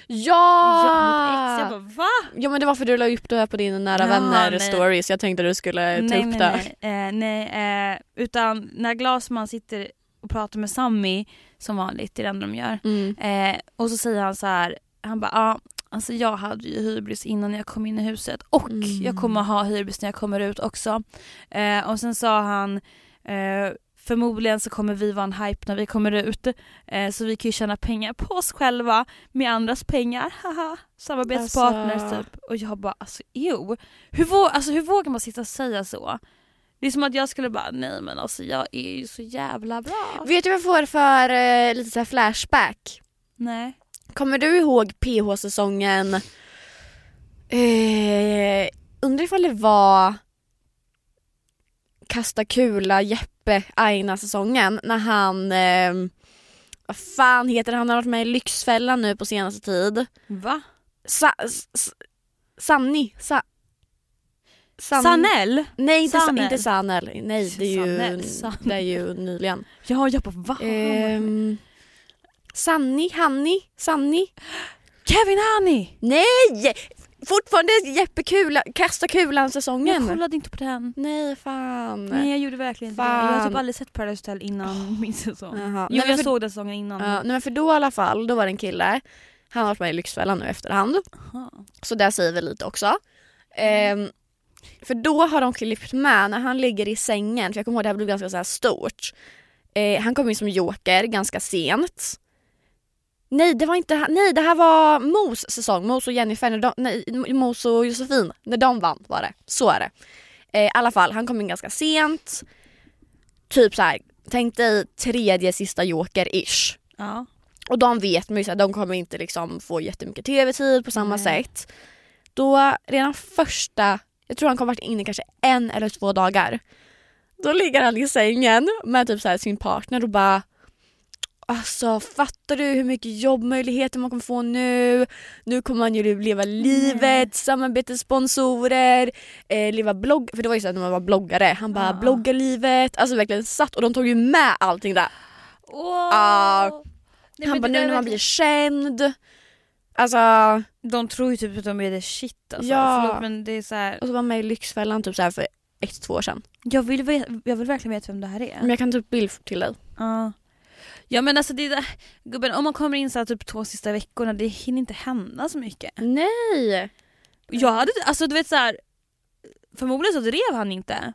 Speaker 2: Ja!
Speaker 1: Jag, mitt ex, jag bara va?
Speaker 2: Ja men det var för du la upp det här på din nära
Speaker 1: Ja,
Speaker 2: vänner
Speaker 1: nej.
Speaker 2: story så jag tänkte du skulle ta
Speaker 1: nej
Speaker 2: upp
Speaker 1: nej
Speaker 2: det.
Speaker 1: nej. Eh, nej eh, utan när Glasman sitter och pratar med Sammy som vanligt, det är det enda de gör.
Speaker 2: Mm.
Speaker 1: Eh, och så säger han så här, han bara ah, alltså jag hade ju hybris innan jag kom in i huset och
Speaker 2: Mm.
Speaker 1: jag kommer ha hybris när jag kommer ut också. Eh, och sen sa han eh, förmodligen så kommer vi vara en hype när vi kommer ut eh, så vi kan ju tjäna pengar på oss själva med andras pengar, haha. Samarbetspartners
Speaker 2: Alltså.
Speaker 1: typ. Och jag bara alltså ew. Hur, vå- alltså, hur vågar man sitta och säga så? Det är som att jag skulle bara nej men alltså jag är ju så jävla bra.
Speaker 2: Vet du vad jag får för eh, lite så här flashback?
Speaker 1: Nej.
Speaker 2: Kommer du ihåg PH-säsongen? Eh, undrar ifall det var Kasta kula, Jeppe, Aina-säsongen när han, eh, vad fan heter det? han, har varit med i Lyxfällan nu på senaste tid.
Speaker 1: Va?
Speaker 2: Sa, s, s, Sanni? Sa, San-
Speaker 1: Sanel?
Speaker 2: Nej inte, Sanel.
Speaker 1: Sanel.
Speaker 2: inte Sanel, nej det är ju,
Speaker 1: Sanel, Sanel. Ah.
Speaker 2: Det är ju nyligen.
Speaker 1: Ja, jag bara va?
Speaker 2: Ehm, Sanni, Hanni, Sanni?
Speaker 1: Kevin Hani!
Speaker 2: Nej! Fortfarande Jeppe Kula, Kasta
Speaker 1: Jag
Speaker 2: Kulan-säsongen.
Speaker 1: kollade inte på den.
Speaker 2: Nej fan.
Speaker 1: Nej Ah. jag gjorde verkligen inte det.
Speaker 2: Fan.
Speaker 1: Jag har typ aldrig sett Paradise Hotel innan min säsong.
Speaker 2: Jaha.
Speaker 1: Jo
Speaker 2: Nej, men
Speaker 1: jag
Speaker 2: för,
Speaker 1: såg den säsongen innan.
Speaker 2: ja, nej men för då i alla fall, då var det en kille. Han har varit med i Lyxfällan nu efterhand.
Speaker 1: Aha.
Speaker 2: Så där säger vi lite också. Ehm, för då har de klippt med när han ligger i sängen, för jag kommer ihåg det här blev ganska så här stort. Eh, han kom in som joker ganska sent. Nej det var inte han- nej det här var Mos säsong, Mos och Jennifer, när de, nej, Mos och Josefin, när de vann var det. Så är det. Eh, I alla fall, han kom in ganska sent. Typ så här, tänk dig tredje sista joker-ish.
Speaker 1: Ja.
Speaker 2: Och de vet man ju så här, de kommer inte liksom få jättemycket tv-tid på samma
Speaker 1: Nej.
Speaker 2: sätt. Då redan första, jag tror han kommer varit inne kanske en eller två dagar. Då ligger han i sängen med typ så här sin partner och bara Alltså fattar du hur mycket jobbmöjligheter man kommer få nu? Nu kommer man ju leva livet, samarbetssponsorer, eh, leva blogg... För det var ju så här när man var bloggare, han bara
Speaker 1: Ja.
Speaker 2: blogga livet. Alltså verkligen satt och de tog ju med allting där. Ja.
Speaker 1: Ah. Nej,
Speaker 2: han
Speaker 1: men
Speaker 2: bara
Speaker 1: det där
Speaker 2: nu när
Speaker 1: är
Speaker 2: man blir
Speaker 1: verkligen-
Speaker 2: känd. Alltså,
Speaker 1: De tror ju typ att de är det shit alltså.
Speaker 2: Ja.
Speaker 1: Förlåt men det är så här.
Speaker 2: och så var med i Lyxfällan typ så här för ett, två år sedan.
Speaker 1: Jag vill, ve- jag vill verkligen veta vem det här är.
Speaker 2: Men jag kan ta upp bild till dig.
Speaker 1: Ja. Ja men alltså det är där, gubben om man kommer in så här typ två sista veckorna det hinner inte hända så mycket.
Speaker 2: Nej!
Speaker 1: Jag hade, alltså du vet så här. förmodligen så drev han inte.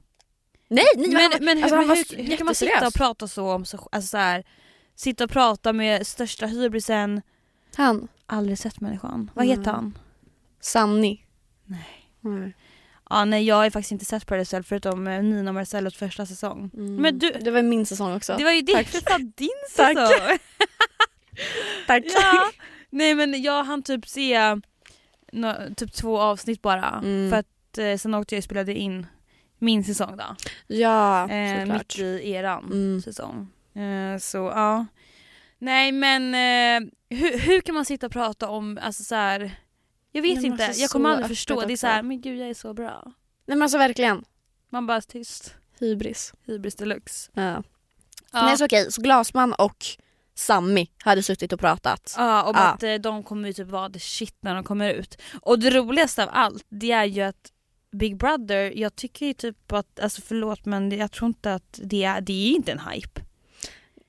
Speaker 2: Nej, nej
Speaker 1: Men,
Speaker 2: han,
Speaker 1: men, hur,
Speaker 2: alltså, han
Speaker 1: men
Speaker 2: var
Speaker 1: hur, hur kan man sitta
Speaker 2: jätteseriös.
Speaker 1: och prata så om sig sj- alltså så här, Sitta och prata med största hybrisen,
Speaker 2: han.
Speaker 1: aldrig sett människan. Vad
Speaker 2: Mm.
Speaker 1: heter han?
Speaker 2: Sanni.
Speaker 1: Nej.
Speaker 2: Mm.
Speaker 1: Ja nej jag har ju faktiskt inte sett Paradise Hotel förutom eh, Nina och Marcellos första säsong. Men du,
Speaker 2: Det var min säsong också.
Speaker 1: det var ju det,
Speaker 2: Tack.
Speaker 1: för fan din
Speaker 2: Tack.
Speaker 1: säsong!
Speaker 2: Tack.
Speaker 1: ja. Nej men jag hann typ se nå- typ två avsnitt bara
Speaker 2: Mm.
Speaker 1: för att eh, sen åkte jag och spelade in min säsong då.
Speaker 2: ja
Speaker 1: eh,
Speaker 2: såklart.
Speaker 1: mitt i eran
Speaker 2: Mm.
Speaker 1: säsong. Eh, så ja. Nej men eh, hur, hur kan man sitta och prata om, alltså så här. Jag vet
Speaker 2: Nej, men
Speaker 1: inte,
Speaker 2: alltså,
Speaker 1: jag
Speaker 2: så
Speaker 1: kommer aldrig
Speaker 2: öppet
Speaker 1: förstå. Det är
Speaker 2: också.
Speaker 1: så här, men gud jag är så bra.
Speaker 2: Nej men alltså verkligen.
Speaker 1: Man bara tyst.
Speaker 2: Hybris.
Speaker 1: Hybris deluxe.
Speaker 2: Ja.
Speaker 1: Ja.
Speaker 2: Nej så okej, så Glasman och Sammy hade suttit och pratat.
Speaker 1: Ja, om
Speaker 2: Ja.
Speaker 1: att eh, de kommer ju typ vara the shit när de kommer ut. Och det roligaste av allt, det är ju att Big Brother, jag tycker ju typ att, alltså förlåt men det- jag tror inte att det är, det är inte en hype.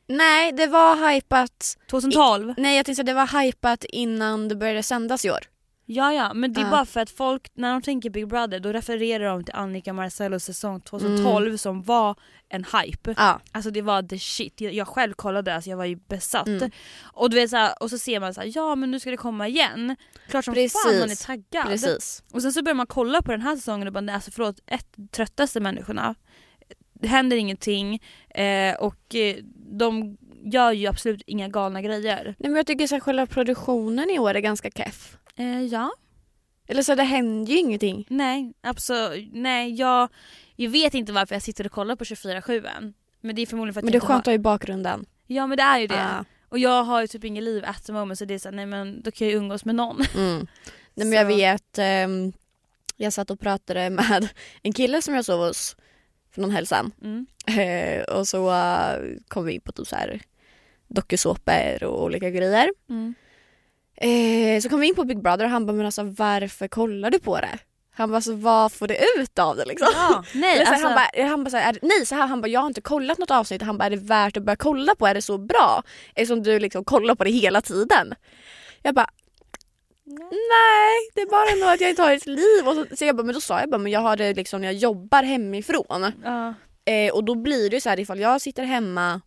Speaker 2: Nej det var hypat.
Speaker 1: 2012?
Speaker 2: Nej jag tänkte säga, det var hypat innan det började sändas i år.
Speaker 1: Ja ja, men det är
Speaker 2: Ja.
Speaker 1: bara för att folk, när de tänker Big Brother då refererar de till Annika Marcellos säsong 2012
Speaker 2: Mm.
Speaker 1: som var en hype.
Speaker 2: Ja.
Speaker 1: Alltså det var the shit, jag, jag själv kollade alltså jag var ju besatt.
Speaker 2: Mm.
Speaker 1: Och, du vet, så här, och så ser man så här, ja men nu ska det komma igen. Klart som fan man är
Speaker 2: Precis.
Speaker 1: taggad.
Speaker 2: Precis.
Speaker 1: Och sen så börjar man kolla på den här säsongen och bara nej, alltså förlåt, ett, tröttaste människorna. Det händer ingenting eh, och eh, de gör ju absolut inga galna grejer.
Speaker 2: Nej men jag tycker så här, själva produktionen i år är ganska keff.
Speaker 1: Eh, ja.
Speaker 2: Eller så det händer ju ingenting.
Speaker 1: Nej, absolut. Nej, jag, jag vet inte varför jag sitter och kollar på 24-7 än. Men det är förmodligen för att
Speaker 2: Men det
Speaker 1: jag
Speaker 2: är skönt att
Speaker 1: har...
Speaker 2: ha i bakgrunden. Ah.
Speaker 1: Ja men det är ju det.
Speaker 2: Ja.
Speaker 1: Och jag har ju typ inget liv at the moment så det är såhär, nej men då kan jag ju umgås med någon.
Speaker 2: Mm. Nej, men jag
Speaker 1: Så-
Speaker 2: vet, ehm, jag satt och pratade med en kille som jag sov hos för någon hälsan.
Speaker 1: Mm.
Speaker 2: Eh, och så eh, kom vi in på typ så här dokusåpor och olika grejer.
Speaker 1: Mm.
Speaker 2: Eh, så kom vi in på Big Brother och han bara men alltså varför kollar du på det? Han bara alltså vad får det ut av det liksom?
Speaker 1: Ja, nej
Speaker 2: Eller så här,
Speaker 1: alltså.
Speaker 2: Han bara, han bara så här, är, det- nej så här, han bara jag har inte kollat något avsnitt han bara är det värt att börja kolla på, är det så bra? Eftersom du liksom kollar på det hela tiden. Jag bara nej det är bara nog att jag inte har ett liv. Och så, så jag bara, men då sa jag bara men jag har det liksom när jag jobbar hemifrån.
Speaker 1: ja.
Speaker 2: Eh, och då blir det ju så här ifall jag sitter hemma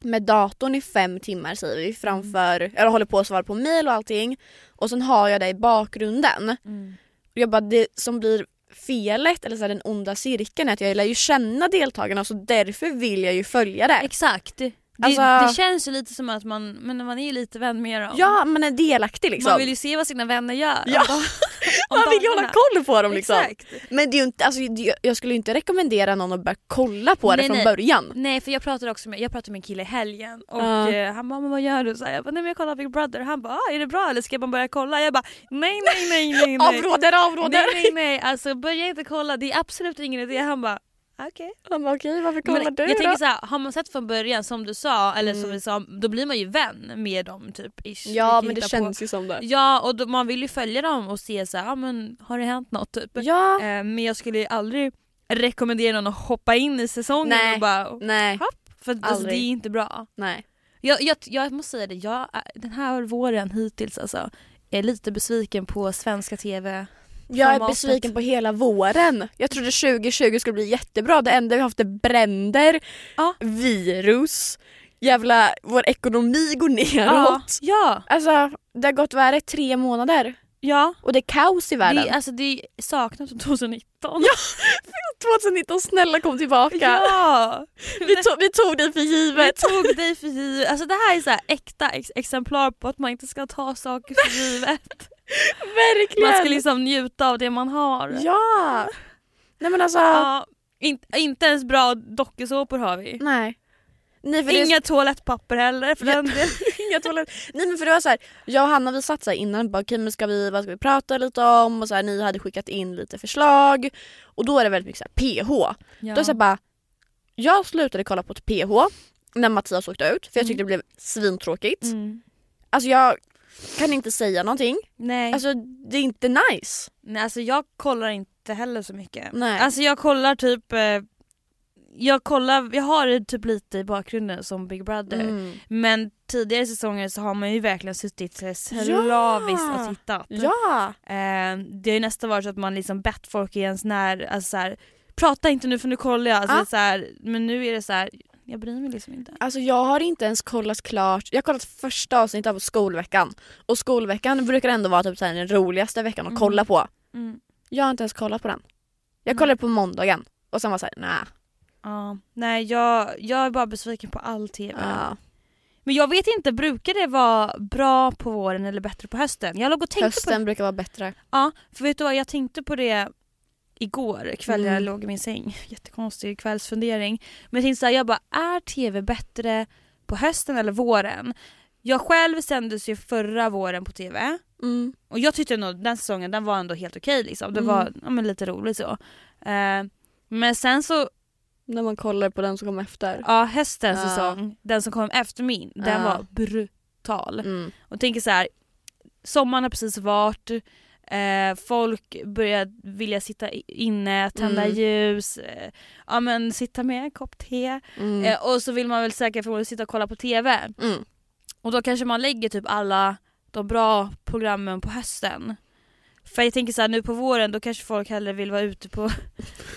Speaker 2: med datorn i fem timmar säger vi framför,
Speaker 1: Mm.
Speaker 2: eller håller på att svara på mail och allting och sen har jag det i bakgrunden.
Speaker 1: Mm.
Speaker 2: Och jag bara det som blir felet eller så här, den onda cirkeln är att jag lär ju känna deltagarna så därför vill jag ju följa det.
Speaker 1: Exakt. Det,
Speaker 2: Alltså-
Speaker 1: det känns ju lite som att man, men man är ju lite vän med dem.
Speaker 2: Ja man är delaktig liksom.
Speaker 1: Man vill ju se vad sina vänner gör.
Speaker 2: Ja.
Speaker 1: Om de- om
Speaker 2: Man vill ju
Speaker 1: dagarna.
Speaker 2: hålla koll på dem liksom.
Speaker 1: Exakt.
Speaker 2: Men det är ju inte, alltså, det- jag skulle ju inte rekommendera någon att börja kolla på det
Speaker 1: Nej,
Speaker 2: från
Speaker 1: nej.
Speaker 2: början.
Speaker 1: Nej för jag pratade också med, jag pratade med en kille i helgen och
Speaker 2: Ja.
Speaker 1: eh, han bara men vad gör du? Så här, jag bara nej men jag kollar Big Brother. Han bara ah, är det bra eller ska man börja kolla? Jag bara nej nej nej nej nej.
Speaker 2: Avråder, avråder!
Speaker 1: nej nej nej alltså börja inte kolla det är absolut ingen idé. Han bara okej.
Speaker 2: Han bara okej varför
Speaker 1: Men
Speaker 2: kollar du
Speaker 1: jag
Speaker 2: då?
Speaker 1: tänker så här, har man sett från början som du sa eller som
Speaker 2: Mm.
Speaker 1: vi sa då blir man ju vän med dem typ. Ish. Vi
Speaker 2: Ja
Speaker 1: kan
Speaker 2: men det
Speaker 1: hitta
Speaker 2: känns ju som det.
Speaker 1: På. Ja och då, man vill ju följa dem och se så här, ah, men har det hänt något typ.
Speaker 2: Ja.
Speaker 1: Eh, men jag skulle ju aldrig rekommendera någon att hoppa in i säsongen
Speaker 2: Nej.
Speaker 1: och bara
Speaker 2: Nej.
Speaker 1: för att, alltså, det
Speaker 2: Aldrig.
Speaker 1: är inte bra.
Speaker 2: Nej.
Speaker 1: Jag, jag, jag måste säga det, jag, äh, den här våren hittills alltså, jag är lite besviken på svenska TV.
Speaker 2: Jag är
Speaker 1: Formatet.
Speaker 2: besviken på hela våren. Jag trodde 2020 skulle bli jättebra. Det enda vi har haft är bränder,
Speaker 1: Ja.
Speaker 2: virus, jävla vår ekonomi går neråt.
Speaker 1: Ja,
Speaker 2: Alltså det har gått, vad är det, tre månader?
Speaker 1: ja.
Speaker 2: Och det är kaos i
Speaker 1: Det,
Speaker 2: världen.
Speaker 1: är- alltså, det saknas 2019.
Speaker 2: 2019, snälla kom tillbaka.
Speaker 1: ja.
Speaker 2: Vi, tog, vi tog dig för
Speaker 1: Jag
Speaker 2: givet.
Speaker 1: tog dig för givet. Alltså det här är så här äkta ex- exemplar på att man inte ska ta saker för givet.
Speaker 2: Verkligen.
Speaker 1: Man ska liksom njuta av det man har.
Speaker 2: Ja. Nej men alltså.
Speaker 1: Ja, in, inte ens bra dokusåpor har vi.
Speaker 2: Nej. Nej, för det är
Speaker 1: Inga toalettpapper heller för
Speaker 2: Ja.
Speaker 1: den delen.
Speaker 2: Inga toalett. Nej men för det var så här, jag och Hanna vi satt så här innan bara okej men ska vi, vad ska vi prata lite om och så här, ni hade skickat in lite förslag och då är det väldigt mycket så här, PH.
Speaker 1: Ja.
Speaker 2: Då är det så här, bara, jag slutade kolla på ett PH när Mattias åkte ut för jag tyckte det blev svintråkigt.
Speaker 1: mm.
Speaker 2: Alltså jag kan inte säga någonting,
Speaker 1: Nej.
Speaker 2: alltså det är inte nice.
Speaker 1: Nej, alltså jag kollar inte heller så mycket.
Speaker 2: Nej.
Speaker 1: Alltså jag kollar typ eh, jag kollar, jag har det typ lite i bakgrunden som Big Brother.
Speaker 2: Mm.
Speaker 1: Men tidigare säsonger så har man ju verkligen suttit eh, slaviskt
Speaker 2: Ja.
Speaker 1: och tittat.
Speaker 2: Ja!
Speaker 1: Eh, det har ju nästan varit så att man liksom bett folk i ens när, alltså så här, prata inte nu för nu kollar jag. Alltså
Speaker 2: Ja.
Speaker 1: det är så här, men nu är det så här, jag bryr mig liksom inte.
Speaker 2: Alltså jag har inte ens kollat klart, jag har kollat första avsnittet av skolveckan och skolveckan brukar ändå vara typ så här, den roligaste veckan att
Speaker 1: Mm.
Speaker 2: kolla på.
Speaker 1: Mm.
Speaker 2: Jag har inte ens kollat på den. Jag kollade på måndagen och sen var såhär, nej.
Speaker 1: Ja. Nej jag, jag är bara besviken på all TV. nu.
Speaker 2: Ja.
Speaker 1: Men jag vet inte, brukar det vara bra på våren eller bättre på hösten? Jag låg och tänkte på
Speaker 2: Hösten brukar vara bättre.
Speaker 1: Ja, för vet du vad, jag tänkte på det igår kväll
Speaker 2: Mm.
Speaker 1: jag låg i min säng. Jättekonstig kvällsfundering. Men jag tänkte såhär, jag bara, är tv bättre på hösten eller våren? Jag själv sändes ju förra våren på tv
Speaker 2: Mm.
Speaker 1: och jag tyckte nog den säsongen den var ändå helt okej liksom. Det
Speaker 2: Mm.
Speaker 1: var ja, men lite roligt så. Eh, men sen så,
Speaker 2: När man kollar på den som kom efter.
Speaker 1: ja höstens
Speaker 2: Ja.
Speaker 1: säsong, den som kom efter min, den
Speaker 2: Ja.
Speaker 1: var brutal.
Speaker 2: Mm.
Speaker 1: Och tänker så här, sommaren har precis varit, eh, folk börjar vilja sitta i- inne, tända
Speaker 2: Mm.
Speaker 1: ljus, eh, ja men sitta med en kopp te.
Speaker 2: Mm.
Speaker 1: Eh, och så vill man väl säkert förmodligen sitta och kolla på TV.
Speaker 2: Mm.
Speaker 1: Och då kanske man lägger typ alla de bra programmen på hösten. För jag tänker så här, nu på våren då kanske folk hellre vill vara ute på...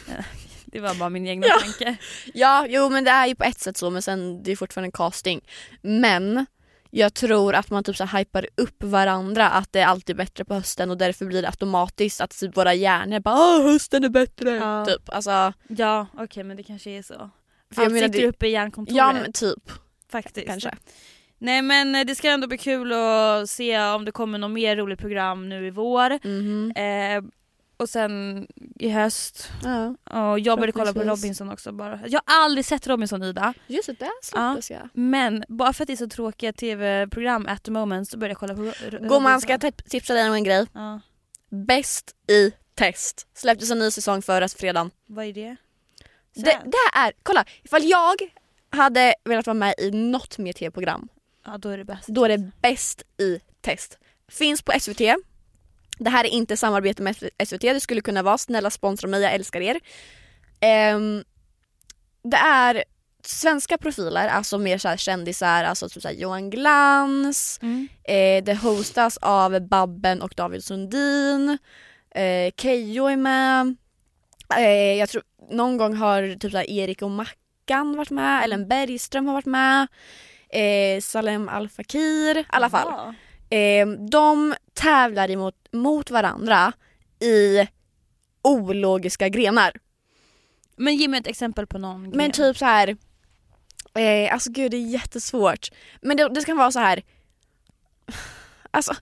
Speaker 1: det var bara min egna
Speaker 2: Ja.
Speaker 1: tanke.
Speaker 2: Ja, jo men det är ju på ett sätt så men sen det är fortfarande casting. Men jag tror att man typ så här hypar upp varandra att det är alltid bättre på hösten och därför blir det automatiskt att typ våra hjärnor bara Åh, hösten är bättre.
Speaker 1: Ja.
Speaker 2: Typ. Alltså,
Speaker 1: Ja okej men det kanske är så.
Speaker 2: för
Speaker 1: Allt
Speaker 2: jag menar,
Speaker 1: sitter ju
Speaker 2: det,
Speaker 1: uppe i hjärnkontoret
Speaker 2: ja men typ
Speaker 1: faktiskt.
Speaker 2: kanske.
Speaker 1: Nej men eh, det ska ändå bli kul att se om det kommer något mer roligt program nu i vår.
Speaker 2: Mhm.
Speaker 1: Eh, och sen i höst.
Speaker 2: Ja.
Speaker 1: Och jag började kolla på
Speaker 2: Förhoppningsvis.
Speaker 1: Robinson också bara. Jag har aldrig sett Robinson Ida.
Speaker 2: Just det, där släpptes jag.
Speaker 1: Men bara för att det är så tråkiga tv-program at the moment så började jag kolla på Ro- Ro-
Speaker 2: Gumman
Speaker 1: Robinson.
Speaker 2: ska jag tip- tipsa dig om en grej.
Speaker 1: Ja,
Speaker 2: Bäst i test. Släpptes en ny säsong förra fredagen.
Speaker 1: vad är det?
Speaker 2: Det,
Speaker 1: Sen?
Speaker 2: det här är, kolla ifall jag hade velat vara med i något mer tv-program
Speaker 1: Ja då är det bäst.
Speaker 2: Då är det bäst i test. Finns på SVT. Det här är inte samarbete med SVT, det skulle kunna vara. Snälla sponsra mig, jag älskar er. Ehm, det är svenska profiler, alltså mer så här kändisar, alltså typ så här Johan Glans.
Speaker 1: Mm.
Speaker 2: Eh, det hostas av Babben och David Sundin. Eh, Keyyo är med. Eh, jag tror någon gång har typ så här Erik och Mackan varit med. Ellen Bergström har varit med. Eh, Salem Al Fakir. I alla fall.
Speaker 1: Ja.
Speaker 2: Eh, de tävlar emot, mot varandra i ologiska grenar.
Speaker 1: Men ge mig ett exempel på någon
Speaker 2: Men
Speaker 1: grej.
Speaker 2: typ så här. Eh, alltså gud det är jättesvårt. Men det, det kan vara så här. Alltså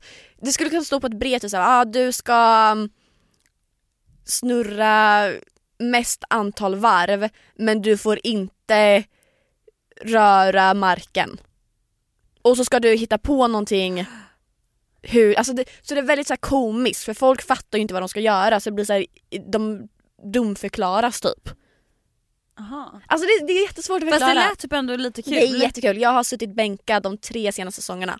Speaker 2: det skulle kunna stå på ett brev typ såhär, ah, du ska mm, snurra mest antal varv men du får inte röra marken. Och så ska du hitta på någonting hur, alltså det, så det är väldigt så här komiskt för folk fattar ju inte vad de ska göra så det blir så här, de dumförklaras typ.
Speaker 1: Aha.
Speaker 2: Alltså det, det är jättesvårt att
Speaker 1: Fast
Speaker 2: förklara.
Speaker 1: det lät typ ändå lite kul.
Speaker 2: Det är jättekul. Jag har suttit bänkad de tre senaste säsongerna.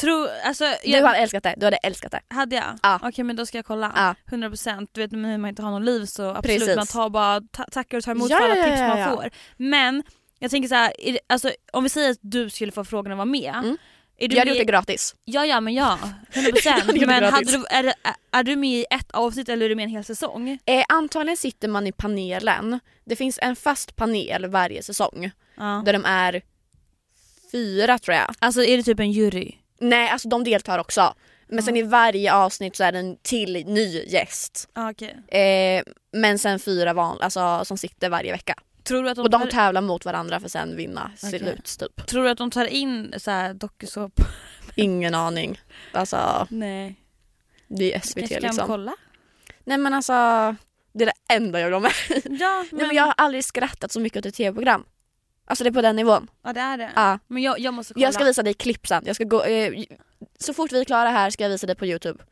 Speaker 1: Tro, alltså, jag,
Speaker 2: Du hade älskat det. Du hade älskat det.
Speaker 1: Hade jag?
Speaker 2: Ja.
Speaker 1: Okej men då ska jag kolla.
Speaker 2: Ja.
Speaker 1: 100% du vet när man inte har något liv så absolut
Speaker 2: Precis.
Speaker 1: man tar bara ta- tackar och tar emot
Speaker 2: Ja,
Speaker 1: för alla
Speaker 2: ja, ja,
Speaker 1: tips man
Speaker 2: ja, ja.
Speaker 1: får. Men jag tänker så här, är det, alltså, om vi säger att du skulle få frågan att vara med.
Speaker 2: Mm.
Speaker 1: Är du
Speaker 2: Jag hade
Speaker 1: med,
Speaker 2: gjort det gratis.
Speaker 1: ja ja men ja, 100%
Speaker 2: Jag hade gjort det
Speaker 1: men hade
Speaker 2: gratis.
Speaker 1: du, är, det- är- är du med i ett avsnitt eller är du med i en hel säsong?
Speaker 2: Eh, antagligen sitter man i panelen. Det finns en fast panel varje säsong.
Speaker 1: Ja.
Speaker 2: Där de är fyra tror jag.
Speaker 1: Alltså är det typ en jury?
Speaker 2: Nej, alltså de deltar också. Men sen i varje avsnitt så är det en till ny gäst.
Speaker 1: Ja, okej.
Speaker 2: Eh, men sen fyra van, alltså, som sitter varje vecka.
Speaker 1: Tror, du att de
Speaker 2: Och de
Speaker 1: tar,
Speaker 2: tävlar mot varandra för sen vinna
Speaker 1: Okej.
Speaker 2: slut typ.
Speaker 1: tror du att de tar in så här dokusåpa?
Speaker 2: Ingen aning. Alltså
Speaker 1: Nej.
Speaker 2: det är
Speaker 1: Kanske
Speaker 2: SVT
Speaker 1: kan
Speaker 2: liksom.
Speaker 1: kolla?
Speaker 2: Nej men alltså, det är det enda jag vill ha med.
Speaker 1: Ja men,
Speaker 2: liksom. Nej, men jag har aldrig skrattat så mycket åt ett tv-program. Alltså det är på den nivån.
Speaker 1: ja det är det.
Speaker 2: Ja.
Speaker 1: Men jag, jag måste kolla.
Speaker 2: Jag ska visa dig klipp sen. Jag ska gå, eh, så fort vi är klara här ska jag visa dig på youtube.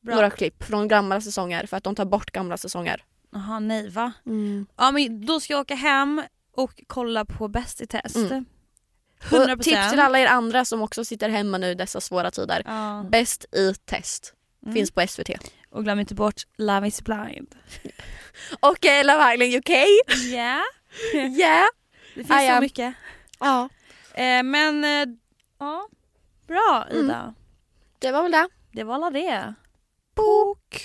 Speaker 1: Bra.
Speaker 2: Några klipp från gamla säsonger för att de tar bort gamla säsonger.
Speaker 1: Jaha nej va? Ja men då ska jag åka hem och kolla på Bäst i test.
Speaker 2: Mm.
Speaker 1: 100%.
Speaker 2: Och tips till alla er andra som också sitter hemma nu i dessa svåra tider.
Speaker 1: Ja.
Speaker 2: Bäst i test.
Speaker 1: Mm.
Speaker 2: Finns på SVT.
Speaker 1: Och glöm inte bort Love is blind.
Speaker 2: Och eh, Love Island UK.
Speaker 1: Ja,
Speaker 2: Yeah.
Speaker 1: det finns
Speaker 2: Ah, ja.
Speaker 1: så mycket.
Speaker 2: ja.
Speaker 1: Eh, men eh, ja, bra
Speaker 2: Mm.
Speaker 1: Ida.
Speaker 2: Det var väl det.
Speaker 1: Det var alla det.
Speaker 2: Bok.